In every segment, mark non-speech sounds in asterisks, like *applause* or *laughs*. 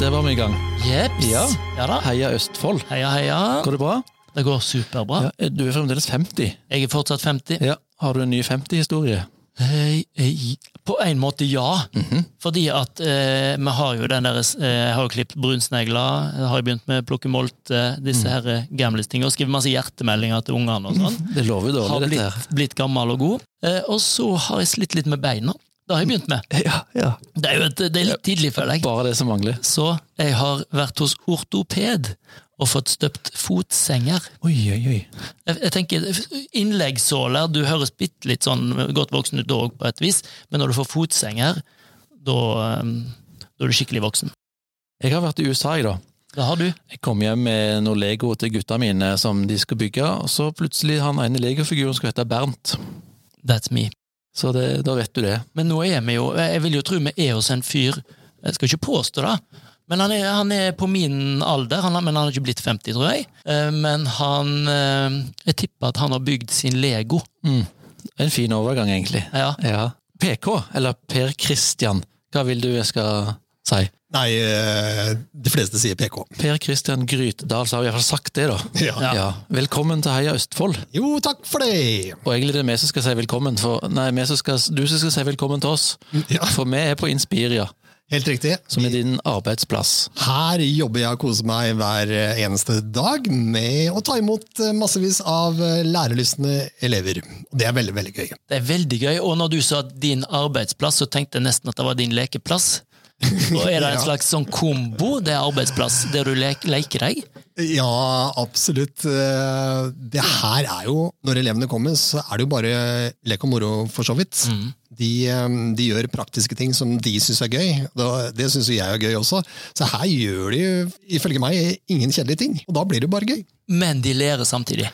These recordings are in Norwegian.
Der var vi i gang. Jeps. Ja. ja da. Heia Østfold. Heia, heia. Går det bra? Det går superbra. Ja, du er fremdeles 50. Jeg er fortsatt 50. Ja. Har du en ny 50-historie? Eh, eh, På en måte ja. Mhm. Fordi at eh, vi har jo den der eh, Jeg har jo klippet brunsnegler, jeg har jo begynt med å plukke molte, Mhm. disse her eh, gamlis-tingene, og skriver masse hjertemeldinger til ungene og sånn. *laughs* Det lover jo Har Mhm. dårlig, dette her. blitt, blitt gammel og god. Eh, og så har jeg slitt litt med beina. Det har jeg begynt med. *laughs* Ja, ja. Det er jo et, det er litt tidlig, føler jeg. Bare det som mangler. Så jeg har vært hos ortoped og fått støpt fotsenger. Oi, oi, oi. Jeg, jeg tenker Innleggssåler Du høres bitte litt sånn godt voksen ut da òg, på et vis, men når du får fotsenger, da ehm, da er du skikkelig voksen. Jeg har vært i USA i dag. Det har du. Jeg kom hjem med noe Lego til gutta mine som de skulle bygge, og så plutselig han ene Lego-figuren skulle hete Bernt. That's me. Så det, da vet du det. Men nå er vi jo Jeg vil jo tro vi er hos en fyr Jeg skal ikke påstå det, men han er, han er på min alder, han, har- men han har ikke blitt 50, tror jeg. Eh, Men han eh, Jeg tipper at han har bygd sin Lego. En fin overgang, egentlig. Ja. Ja. PK, eller Per Christian. Hva vil du jeg skal si? Nei, eh, de fleste sier PK. Per Christian Grytdal, så har vi iallfall sagt det, da. *laughs* Ja. Ja. Velkommen til Heia Østfold. Jo, takk for det! Og egentlig det er vi som skal si velkommen, for nei, vi som skal, du som skal si velkommen til oss. Ja. For vi er på Inspiria, Helt riktig. som er din arbeidsplass. Her jobber jeg og koser meg hver eh, eneste dag med å ta imot eh, massevis av lærelystne elever. Og Det er veldig, veldig gøy. Det er veldig gøy. Og når du sa din arbeidsplass, så tenkte jeg nesten at det var din lekeplass. Og er det en *laughs* Ja. slags sånn kombo? Det er arbeidsplass der du lek, leker deg? Ja, absolutt. Eh, Det her er jo, når elevene kommer, så er det jo bare lek og moro, for så vidt. De, eh, de gjør praktiske ting som de syns er gøy. Da- Det syns jo jeg er gøy også. Så her gjør de jo, ifølge meg, ingen kjedelige ting. Og da blir det jo bare gøy. Men de lærer samtidig.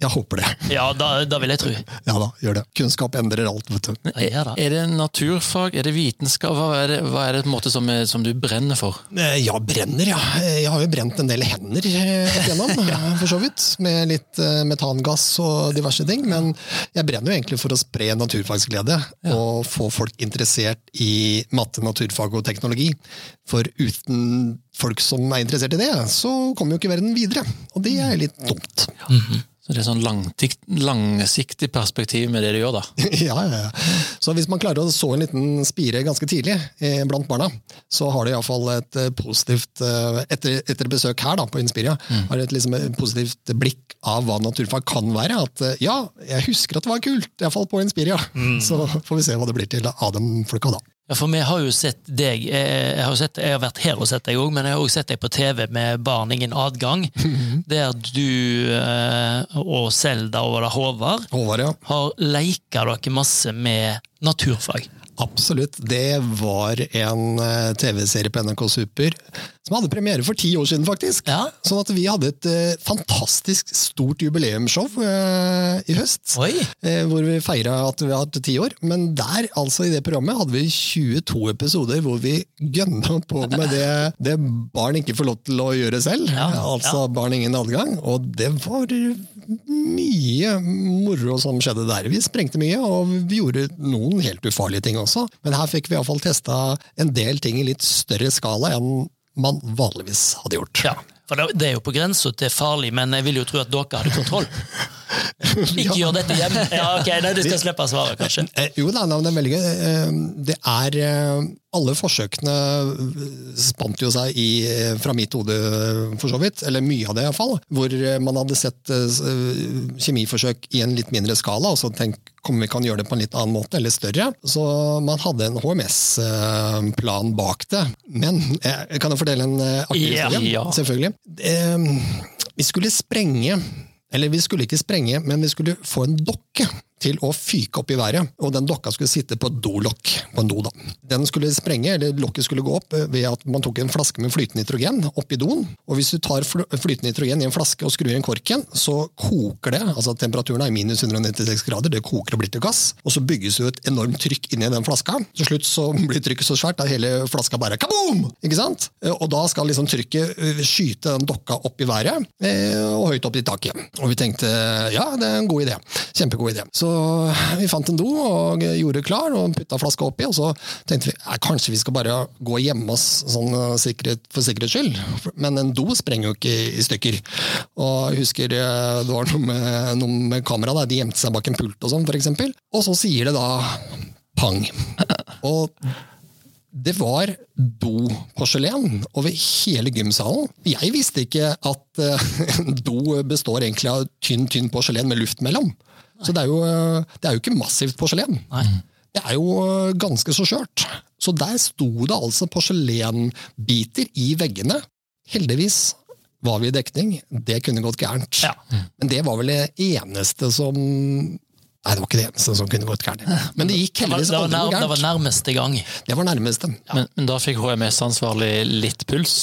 Jeg håper det. Ja, da, da vil jeg tro. Ja da, gjør det. Kunnskap endrer alt, vet du. Ja, da. Er det naturfag, er det vitenskap, hva er det, hva er det på en måte som, er, som du brenner for? Eh, Ja, brenner, ja. Eh, Jeg har jo brent en del hender eh, opp igjennom, eh, for så vidt. Med litt eh, metangass og diverse ting. Men jeg brenner jo egentlig for å spre naturfagsglede. Og få folk interessert i matte, naturfag og teknologi. For uten folk som er interessert i det, så kommer jo ikke verden videre. Og det er litt dumt. Så det er sånn langtikt, langsiktig perspektiv med det du gjør, da. *laughs* ja, ja, ja. Så hvis man klarer å så en liten spire ganske tidlig eh, blant barna, så har det iallfall et eh, positivt eh, Etter, etter besøk her da, på Inspiria, har det et liksom et positivt blikk av hva naturfag kan være. At eh, ja, jeg husker at det var kult, iallfall på Inspiria. *laughs* Så får vi se hva det blir til av dem folka da. Ja, for vi har jo sett deg eh, Jeg har, jo sett, jeg har vært her og sett deg òg, men jeg har også sett deg på TV med Barn ingen *laughs* adgang, der du eh, og Selda og var det Håvard Håvard, ja. har leika dere masse med naturfag. Absolutt. Det var en eh, TV-serie på NRK Super som hadde premiere for ti år siden, faktisk. Ja. Sånn at vi hadde et eh, fantastisk stort jubileumsshow eh, i høst. Oi! eh, Hvor vi feira at vi har hatt ti år. Men der, altså i det programmet, hadde vi 22 episoder hvor vi gønna på med det, det barn ikke får lov til å gjøre selv. Ja, Altså barn ingen adgang. Og det var mye moro som skjedde der. Vi sprengte mye, og vi gjorde noen helt ufarlige ting også. Men her fikk vi iallfall testa en del ting i litt større skala enn man vanligvis hadde gjort. Ja, for det, det er jo på grensa til farlig, men jeg vil jo tro at dere hadde kontroll. Ikke gjør dette hjemme. Ja, ok, nei, Du skal slippe svaret, kanskje. Eh, jo, nei, nei, men det er veldig gøy. Eh, Det er eh, Alle forsøkene eh, spant jo seg i, eh, fra mitt hode, eh, for så vidt. Eller mye av det, iallfall. Hvor eh, man hadde sett eh, s- eh, kjemiforsøk i en litt mindre skala, og så tenkt om vi kan gjøre det på en litt annen måte, eller større. Så man hadde en HMS-plan eh, bak det. Men eh, jeg kan jo fortelle en eh, artig Ja, historie? ja. Selvfølgelig. Eh, Vi skulle sprenge eller vi skulle ikke sprenge, men vi skulle få en dokke til å fyke opp i været. Og den dokka skulle sitte på et dolokk. på en do da. Den skulle sprenge, eller lokket skulle gå opp eh, ved at man tok en flaske med flytende nitrogen oppi doen. Og hvis du tar fl- flytende nitrogen i en flaske og skrur igjen korken, så koker det. altså Temperaturen er minus 196 grader, det koker og blir til gass. Og så bygges jo et enormt trykk inni den flaska. Til slutt så blir trykket så svært at hele flaska bare kaboom! Ikke sant? Eh, Og da skal liksom trykket eh, skyte den dokka opp i været, eh, og høyt opp i taket. Og vi tenkte ja, det er en god idé. Kjempegod idé. Så vi fant en do og gjorde klar og putta flaska oppi. Og så tenkte vi ja, kanskje vi skal bare gå og gjemme oss sånn, eh, sikkerhet, for sikkerhets skyld. Men en do sprenger jo ikke i stykker. Og jeg husker eh, det var noe med, noe med kamera, der, de gjemte seg bak en pult og sånn, for eksempel. Og så sier det da pang. *laughs* Og det var doporselen over hele gymsalen. Jeg visste ikke at eh, *laughs* en do består egentlig av tynn, tynn porselen med luft mellom. Så det er jo, eh, det er jo ikke massivt porselen. Det er jo eh, ganske så skjørt. Så der sto det altså porselenbiter i veggene. Heldigvis var vi i dekning. Det kunne gått gærent. Ja. Men det var vel det eneste som Nei, det var ikke det eneste som kunne gått gærent. *laughs* Men det Det gikk var, heldigvis det, var aldri noe nær, det var gærent. nærmeste gang. Det var nærmeste. Men, men da fikk HMS-ansvarlig litt puls.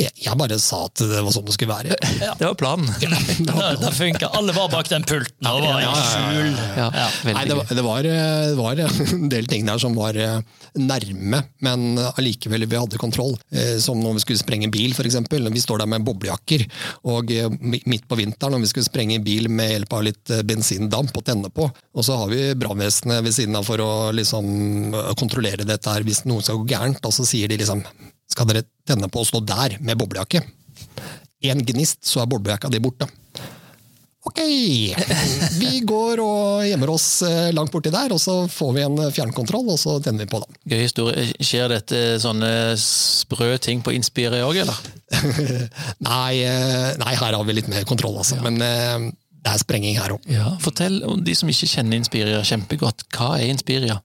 Jeg, jeg bare sa at det var sånn det skulle *laughs* være. Det var planen. Det, det funka. Alle var bak den pulten og var i skjul. Ja, Nei, det, veldig var, det, var, eh, *laughs* det var en del ting der som var eh, nærme, men allikevel vi hadde kontroll. Eh, Som når vi skulle sprenge bil, f.eks. Vi står der med boblejakker, og eh, mi- midt på vinteren når vi skulle sprenge bil med hjelp av litt eh, bensindamp å tenne på, og så har vi brannvesenet ved siden av for å liksom eh, kontrollere dette her hvis noe skal gå gærent, og så sier de liksom skal dere tenne på og stå der med boblejakke? Én gnist, så er boblejakka di borte. Ok, vi går og gjemmer oss eh, langt borti der, og så får vi en eh, fjernkontroll, og så tenner vi på den. Gøy historie. Skjer dette sånne sprø ting på Inspire òg, eller? *laughs* Nei, eh, nei, her har vi litt mer kontroll, altså. Men eh, det er sprenging her òg. Ja. Fortell om de som ikke kjenner Inspiria kjempegodt. Hva er Inspiria?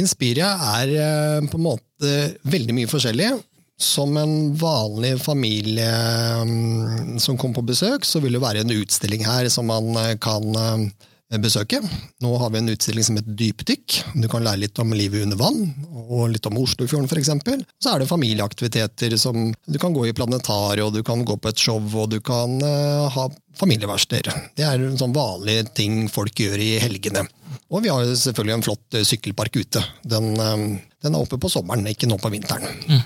Inspiria er eh, på en måte veldig mye forskjellig. Som en vanlig familie mm, som kommer på besøk, så vil det være en utstilling her som man eh, kan eh, besøke. Nå har vi en utstilling som heter Dypdykk. Du kan lære litt om livet under vann, og litt om Oslofjorden f.eks. Så er det familieaktiviteter som du kan gå i planetariet, og du kan gå på et show, og du kan eh, ha familieverksteder. Det er en sånn vanlige ting folk gjør i helgene. Og vi har jo selvfølgelig en flott eh, sykkelpark ute. Den, eh, den er oppe på sommeren, ikke nå på vinteren. Eh,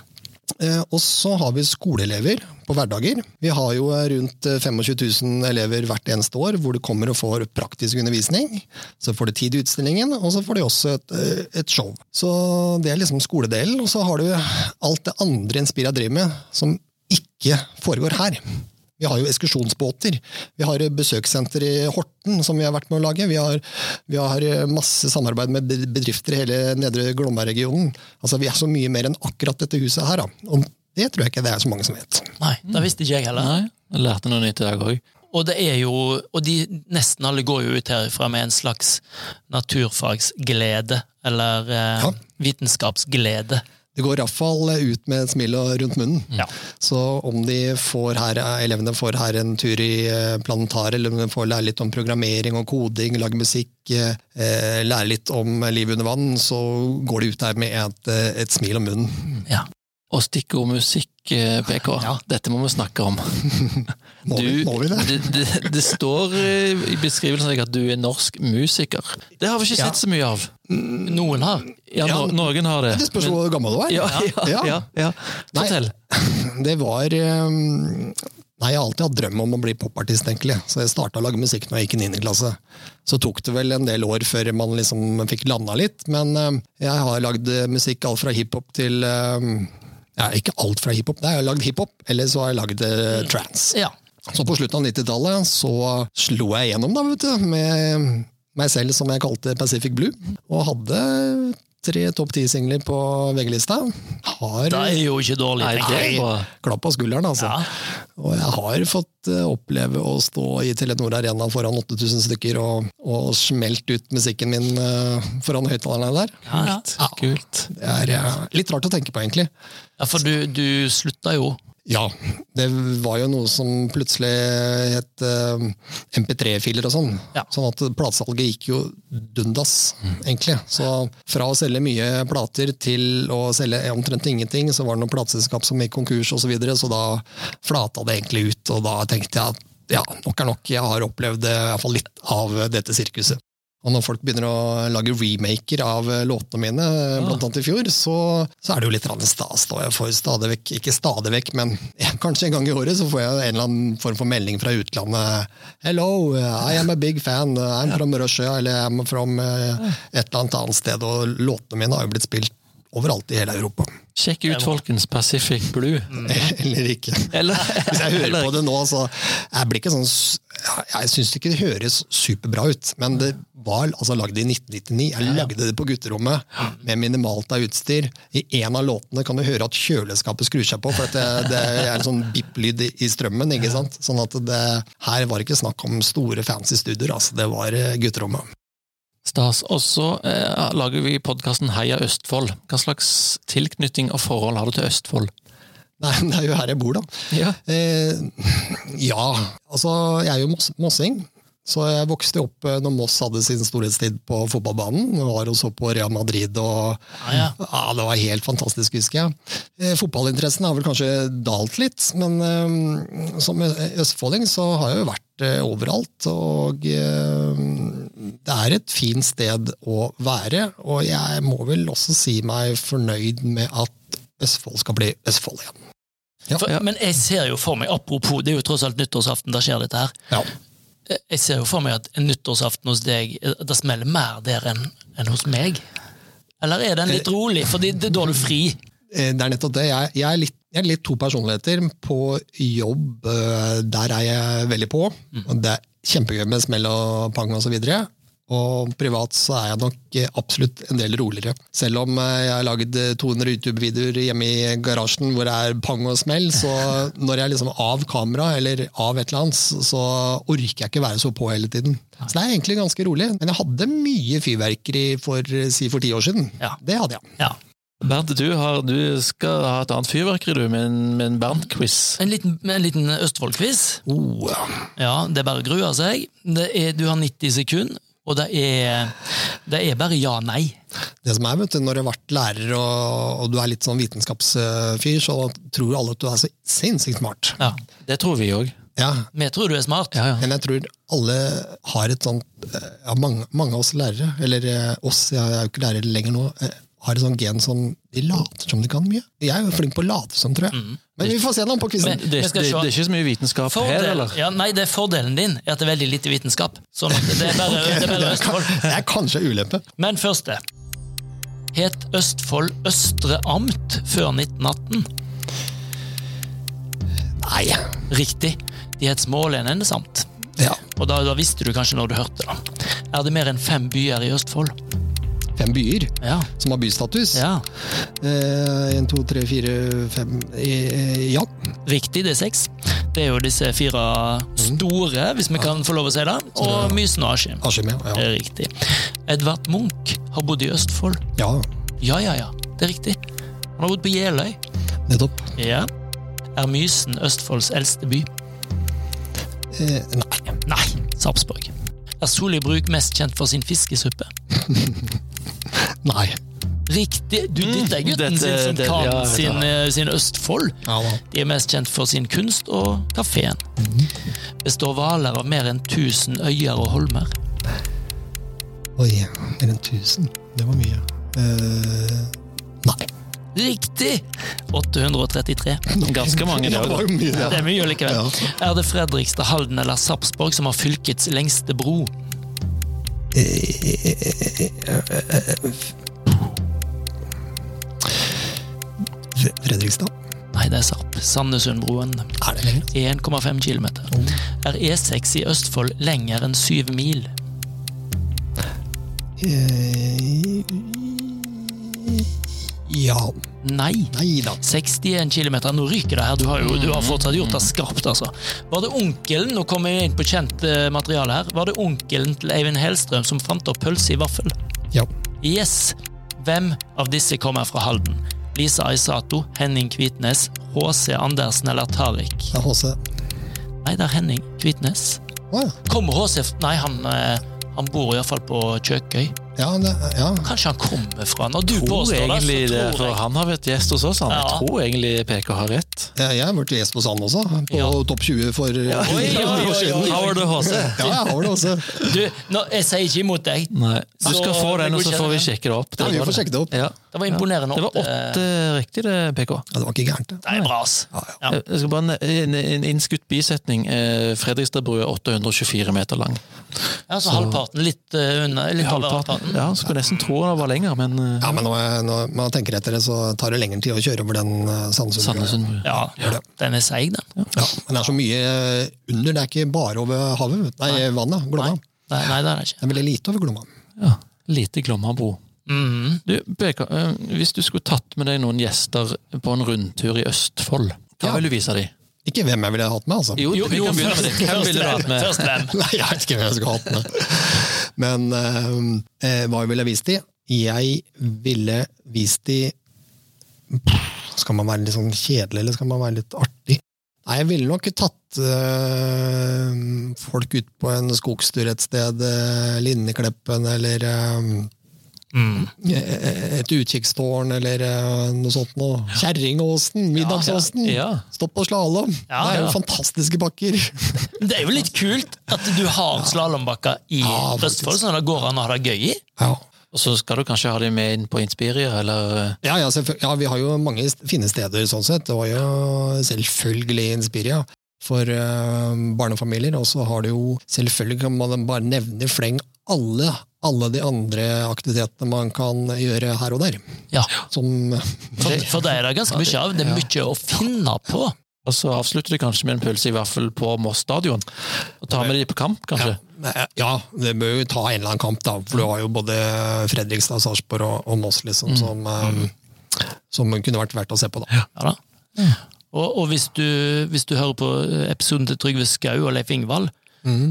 Og så har vi skoleelever på hverdager. Vi har jo rundt eh, 25 000 elever hvert eneste år hvor de kommer og får praktisk undervisning. Så får de tid i utstillingen, og så får de også et, eh, et show. Så det er liksom skoledelen. Og så har du alt det andre Inspira driver med som ikke foregår her. Vi har jo ekskursjonsbåter. Vi har besøkssenter i Horten som vi har vært med å lage. Vi har, vi har eh, masse samarbeid med be- bedrifter i hele Nedre Glomma-regionen. Altså, vi er så mye mer enn akkurat dette huset her. Da. Og det tror jeg ikke det er så mange som vet. Nei, det visste ikke jeg heller. Nei, jeg lærte noe nytt i dag òg. Og det er jo, og de, nesten alle går jo ut herifra med en slags naturfagsglede, eller eh, Ja. vitenskapsglede. Det går iallfall ut med et smil og rundt munnen. Ja. Så om de får her, eh, elevene får her en tur i eh, planetariet, eller om de får lære litt om programmering og koding, lage musikk, eh, eh, lære litt om livet under vann, så går de ut der med et, eh, et smil om munnen. Ja. Og stikkord musikk, eh, PK. *laughs* Dette må vi snakke om. Må, Du- vi, må vi det? Det, det, det står eh, i beskrivelsen av deg at du er norsk musiker. Det har vi ikke Ja. Mm, sett så mye av. Noen har. Ja, Ja, no, noen har det. Det spørs hvor gammel du er. Ja, ja, ja. Ja. ja, Nei. Fortell. Det var eh, Nei, jeg har alltid hatt drøm om å bli popartist, egentlig. Så jeg starta å lage musikk når jeg gikk i 9. klasse. Så tok det vel en del år før man liksom fikk landa litt, men eh, jeg har lagd eh, musikk alt fra hiphop til eh, ja, ikke alt fra hiphop, nei, jeg har lagd hiphop, eller så har jeg lagd eh, trans. Ja. Så på slutten av 90-tallet så slo jeg gjennom da, vet du, med meg selv som jeg kalte Pacific Blue, og hadde tre topp ti-singler på VG-lista. Har Det er jo ikke dårlig. Nei, tenker det jeg. er bra. klapp på skulderen, altså. Ja. Og jeg har fått eh, oppleve å stå i Telenor Arena foran 8000 stykker og, og smelt ut musikken min eh, foran høyttalerne der. Kult. Ja. Kult. Det er eh, litt rart å tenke på, egentlig. Ja, for du, du slutta jo. Ja, det var jo noe som plutselig het eh, MP3-filer og sånn. Ja. Sånn at platesalget gikk jo dundas, egentlig. Så fra å selge mye plater til å selge omtrent ingenting, så var det noen plateselskap som gikk konkurs osv., så, videre, så da flata det egentlig ut. Og da tenkte jeg at ja, nok er nok, jeg har opplevd eh, i hvert fall litt av dette sirkuset. Og når folk begynner å lage remaker av eh, låtene mine, eh, blant annet i fjor, så, så er det jo litt grann stas. da. Jeg får stadig vekk, ikke stadig vekk, men *laughs* eh, kanskje en gang i året så får jeg en eller annen form for melding fra utlandet. 'Hello, eh, I am a big fan. I'm from Russia.' Eller 'I'm from eh, et eller annet annet sted.' Og låtene mine har jo blitt spilt overalt i hele Europa. Sjekk ut, folkens, Pacific Blue. Eller ikke. Mm. Eller, Hvis jeg hører på eller- det nå, så jeg blir ikke sånn s- Jeg syns ikke det høres superbra ut, men det var altså lagd i 1999. Jeg lagde det på gutterommet med minimalt av utstyr. I en av låtene kan du høre at kjøleskapet skrur seg på, for at det, det er en sånn bip-lyd i- i strømmen. ikke sant? Sånn at det, her var det ikke snakk om store fancy studier, altså det var eh, gutterommet. Stas. Og så eh, lager vi podkasten Heia Østfold. Hva slags tilknytning og forhold har du til Østfold? Nei, det er jo her jeg bor, da. Ja. Eh, *laughs* ja, altså jeg er jo moss- mossing. Så jeg vokste opp eh, når Moss hadde sin storhetstid på fotballbanen. og Var og så på Real Madrid og Ah, Ja, ja. *laughs* Ja, Det var helt fantastisk, husker jeg. Eh, fotballinteressen har vel kanskje dalt litt, men eh, som ø- østfolding så har jeg jo vært eh, overalt. Og eh, det er et fint sted å være. Og jeg må vel også si meg fornøyd med at Østfold skal bli Østfold igjen. For, Altså, Men jeg ser jo for meg, apropos, det er jo tross alt nyttårsaften, da skjer dette her. Ja. Jeg- Jeg ser jo for meg at en nyttårsaften hos deg, eh, det smeller mer der enn enn hos meg. Eller er den litt rolig, for det er da du fri? Eh, Det er nettopp det. Jeg, jeg, er litt, jeg er litt to personligheter. På jobb, eh, der er jeg veldig på. Og det er kjempegøy med smell og pang osv. Og privat så er jeg nok eh, absolutt en del roligere. Selv om eh, jeg har lagd eh, 200 YouTube-videoer hjemme i garasjen hvor det er pang og smell, *laughs* så når jeg er liksom av kamera eller av et eller annet, så- så orker jeg ikke være så på hele tiden. Så det er egentlig ganske rolig. Men jeg hadde mye fyrverkeri for eh, si for ti år siden. Ja. Det hadde jeg. Ja. Bernt, du, har, du skal ha et annet fyrverkeri, du, med en, med en Bernt-quiz. En liten, en liten Østfold-quiz. Oh, ja. Ja, det er bare å grue seg. Det er, du har 90 sekunder, og det er, det er bare ja-nei. Det som er, vet du, Når du har vært lærer og, og du er litt sånn vitenskapsfyr, så tror alle at du er så sinnssykt smart. Ja. Det tror vi òg. Ja, Vi tror du er smart. Ja, ja. Men jeg tror alle har et sånt eh, ja, mange, mange av oss lærere, eller eh, oss, jeg er jo ikke lærer lenger nå, eh, har et sånt gen som de later som de kan mye. Jeg er jo flink på å late som, tror Mm. jeg. Men vi får se noe på quizen. Det, det, skal det, se. det er ikke så mye vitenskap her, Fordel, *laughs* eller? ja, nei, det er fordelen din er at det er veldig lite vitenskap. Sånn at det er *laughs* bare, det er bare Østfold. *laughs* Det er kanskje ulempe. Men først det. Het Østfold Østre Amt før 1918? Nei. Riktig. De het Smålenenes amt. Ja. Og da, da visste du kanskje når du hørte det. Er det mer enn fem byer i Østfold? Fem byer Ja. som har bystatus. ja. Eh, en, to, tre, fire, fem eh, eh, Ja. Riktig, det er seks. Det er jo disse fire store, hvis vi kan få lov å si det. Og Mysen og Askim. Askim, ja. Det ja. er riktig. Edvard Munch har bodd i Østfold. ja. Ja, ja, ja. Det er riktig. Han har bodd på Jeløy. Nettopp. Ja. Er Mysen Østfolds eldste by? Eh, nei. Nei, Sarpsborg. Er Soli Bruk mest kjent for sin fiskesuppe? nei. Riktig! Du, dette er gutten Mm, dette- sin som det- kan ja, sin, eh, sin Østfold. Ja, da. De er mest kjent for sin kunst og kafeen. Mhm. Består Hvaler av mer enn 1000 øyer og holmer? Oi, mer enn 1000. Det var mye. Eh, nei. Riktig! 833. Ganske mange, det Ja, òg. jo mye, Det ja. er mye likevel. Er det Fredrikstad, Halden eller Sarpsborg som har fylkets lengste bro? Fre- Fredrikstad. Nei, det er Sarp. Sandesundbroen. Er det lenger? 1,5 km. Er E6 i Østfold lenger enn syv mil? Eh, ja. Nei. Nei da. 61 km. Nå ryker det her. Du har, jo, du har fortsatt gjort det skarpt, altså. Var det onkelen Nå kommer jeg inn på kjent eh, materiale her. Var det onkelen til Eivind Hellstrøm som fant opp pølse i vaffel? Ja. Yes! Hvem av disse kommer fra Halden? Lisa Aisato, Henning Kvitnes, HC Andersen eller Tariq? Det er HC. Nei, det er Henning Kvitnes. Å ja. Kommer HC f- Nei, han, eh, han bor iallfall på Kjøkøy. Ja, det, ja. Kanskje han kommer fra Når du Tror påstår det, egentlig det, så tror for jeg han har vært gjest hos oss. Han. Ja. Jeg tror egentlig PK har rett. Jeg jeg har vært gjest hos han også, på Ja. topp 20 for Oi, oi, oi, oi, oi. Howard og HC. Ja, jeg har det også. du, nå, Jeg sier ikke imot deg. Nei. Du Så skal få den, og så godkjenner får vi den. sjekke det opp. Ja, vi var får sjekke det opp. Ja. Det var imponerende. Det var åtte riktig, det, PK. Ja, det var ikke gærent. det. Det er bra, ass. Ja, ja. eh, Ja. Jeg skal bare En, en innskutt bisetning. Eh, Fredrikstadbrua er 824 meter lang. Ja, så halvparten litt eh, unna. Litt over halvparten. Halvparten. Ja, Skulle nesten tro den var lenger, men eh, Ja, men når, jeg, når man tenker etter det, så tar det lengre tid å kjøre over den eh, Sandnesund. Sandnesundbrua. Ja, den er seig, den. Ja, men det er så mye eh, under, det er ikke bare over havet, vet du. nei, vannet, Glomma. Nei, nei, nei det er det ikke. Det er veldig lite over Glomma. Ja. Lite Glommabro. Mhm. Du, PK, eh, hvis du skulle tatt med deg noen gjester på en rundtur i Østfold, hva Ja. ville du vise dem? Ikke hvem jeg ville hatt med, altså. Jo, vi kan begynne med det. Hvem ville du hatt med? Først hvem? *laughs* Nei, jeg vet ikke hvem jeg skulle hatt med. Men eh, eh, hva ville jeg vist de? Jeg ville vist de Skal man være litt sånn kjedelig, eller skal man være litt artig? Nei, jeg ville nok tatt eh, folk ut på en skogstur et sted, uh, Linnekleppen eller Mhm. eh, et utkikkstårn eller eh, noe sånt noe. Kjerringåsen, Middagsåsen. Ja. Stopp og slalåm. Ja, det er jo ja. fantastiske bakker. *laughs* Det er jo litt kult at du har slalåmbakker i Ja, faktisk. Østfold, sånn at det går an å ha det gøy i. Ja. Og så skal du kanskje ha dem med inn på Inspiria, eller eh, Ja, ja, selvføl- ja, vi har jo mange st- fine steder sånn sett. Det var jo selvfølgelig Inspiria for eh, barnefamilier, og så har du jo selvfølgelig kan man bare nevne i fleng alle, alle de andre aktivitetene man kan gjøre her og der. Ja. Som *laughs* For, for deg er det ganske mye av. Det er mye å finne på. Og så avslutter du kanskje med en pølse i vaffel på Moss stadion. Og tar med de på kamp, kanskje. Ja, det bør jo ta en eller annen kamp, da, for du har jo både Fredrikstad, Sarpsborg og, og Moss liksom, som, eh, som kunne vært verdt å se på, da. Ja da. Mm. Og, og hvis, du, hvis du hører på episoden til Trygve Skau og Leif Ingvald,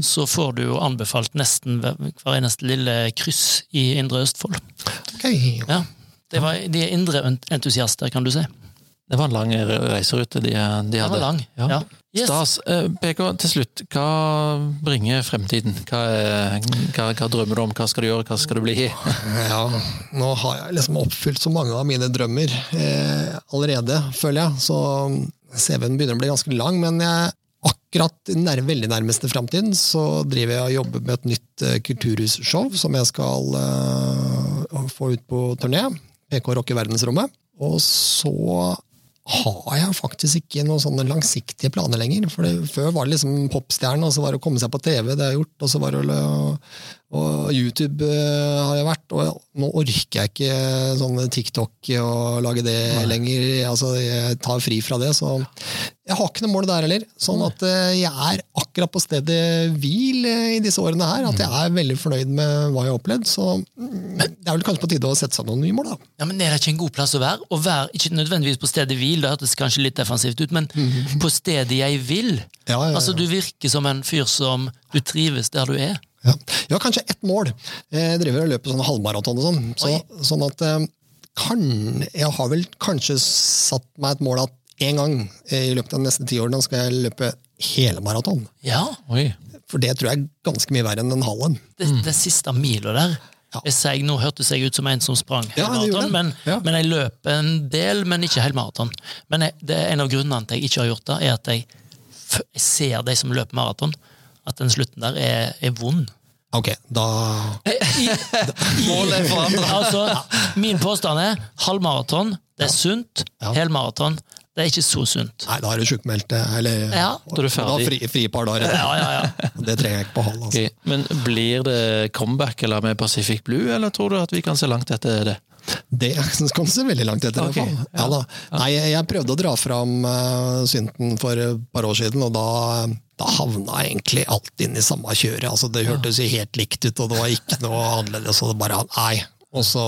så får du jo anbefalt nesten hver hver eneste lille kryss i Indre Østfold. Ok. Ja. Det var, de er indre entusiaster, kan du si. Det var en lang re- reiserute de, de hadde. Den var lang. Ja. Ja. Yes. Stas. Eh, PK, til slutt, hva bringer fremtiden? Hva, er- hva, hva drømmer du om? Hva skal du gjøre? Hva skal du bli? Ja, nå har jeg liksom oppfylt så mange av mine drømmer eh, allerede, føler jeg. Så CV-en begynner å bli ganske lang, men jeg, akkurat i den nær, veldig nærmeste framtiden så driver jeg og jobber med et nytt eh, kulturhusshow som jeg skal eh, få ut på turné. PK Rock i verdensrommet. Og så har jeg faktisk ikke noen sånne langsiktige planer lenger. For det, før var det liksom popstjerne, og så var det å komme seg på TV, det har jeg gjort, og så var det å- og YouTube eh, har jeg vært, og nå orker jeg ikke eh, sånne TikTok og lage det lenger. Altså, jeg tar fri fra det, så jeg har ikke noe mål der heller. Sånn at eh, jeg er akkurat på stedet hvil eh, i disse årene her. At jeg er veldig fornøyd med hva jeg har opplevd. Så mm, det er vel kanskje på tide å sette seg noen nye mål, da. Ja, men Er det ikke en god plass å være? Å være ikke nødvendigvis på stedet hvil, det hørtes kanskje litt defensivt ut, men på stedet jeg vil. Mhm. Ja, ja, ja. Altså, Du virker som en fyr som du trives der du er. Ja. Jeg har kanskje ett mål. Jeg driver og løper sånn halvmaraton og sånn. Så, sånn at eh, kan, jeg har vel kanskje satt meg et mål at en gang eh, i løpet av de neste ti årene skal jeg løpe hele maraton. Ja, Oi. For det tror jeg er ganske mye verre enn en halv en. Det, det siste mila der. Mm. Ja. Jeg sier, nå hørtes jeg ut som en som sprang hele Ja, det maraton, gjorde det. men, Ja. men jeg løper en del, men ikke hele maraton. Men jeg, det er en av grunnene til jeg ikke har gjort det, er at jeg, f jeg ser de som løper maraton, at den slutten der er, er vond. Ok, da Målet er forandret. altså, min påstand er halvmaraton, det er sunt. Ja. Helmaraton, det er ikke så sunt. Nei, da er du sjukmeldt. eh, Eller Ja. Da er du da ferdig. fri, fri et par dager. Ja, ja, ja. Det trenger jeg ikke på halv. Altså. Ok, Men blir det comeback eller med Pacific Blue, eller tror du at vi kan se langt etter det? Det *laughs* kom så veldig langt etter. i hvert Ok, fall. Ja, da. Nei, jeg, jeg prøvde å dra fram eh, synten for et par år siden, og da, da havna jeg egentlig alt inn i samme kjøret. Altså, det hørtes jo helt likt ut, og det var ikke noe annerledes. Og det bare, nei. Og så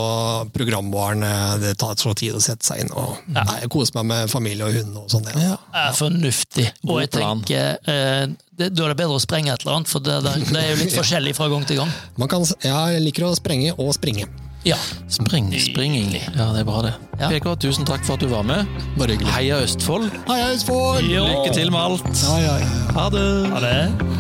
programvaren, eh, det tar så tid å sette seg inn. Og, nei, jeg koser meg med familie og hund og sånn. Ja. Er fornuftig. Og God jeg plan. tenker, eh, det, da er det bedre å sprenge et eller annet, for det, det, det er jo *laughs* litt forskjellig fra gang til gang. Man kan, s- jeg liker å sprenge og springe. Ja. Spring, springing. Ja, det er bra, det. Ja. PK, tusen takk for at du var med. Bare hyggelig. Heia Østfold. Hei, Østfold! Lykke til med alt. Ja, ja, ja. Ha det. Ha det.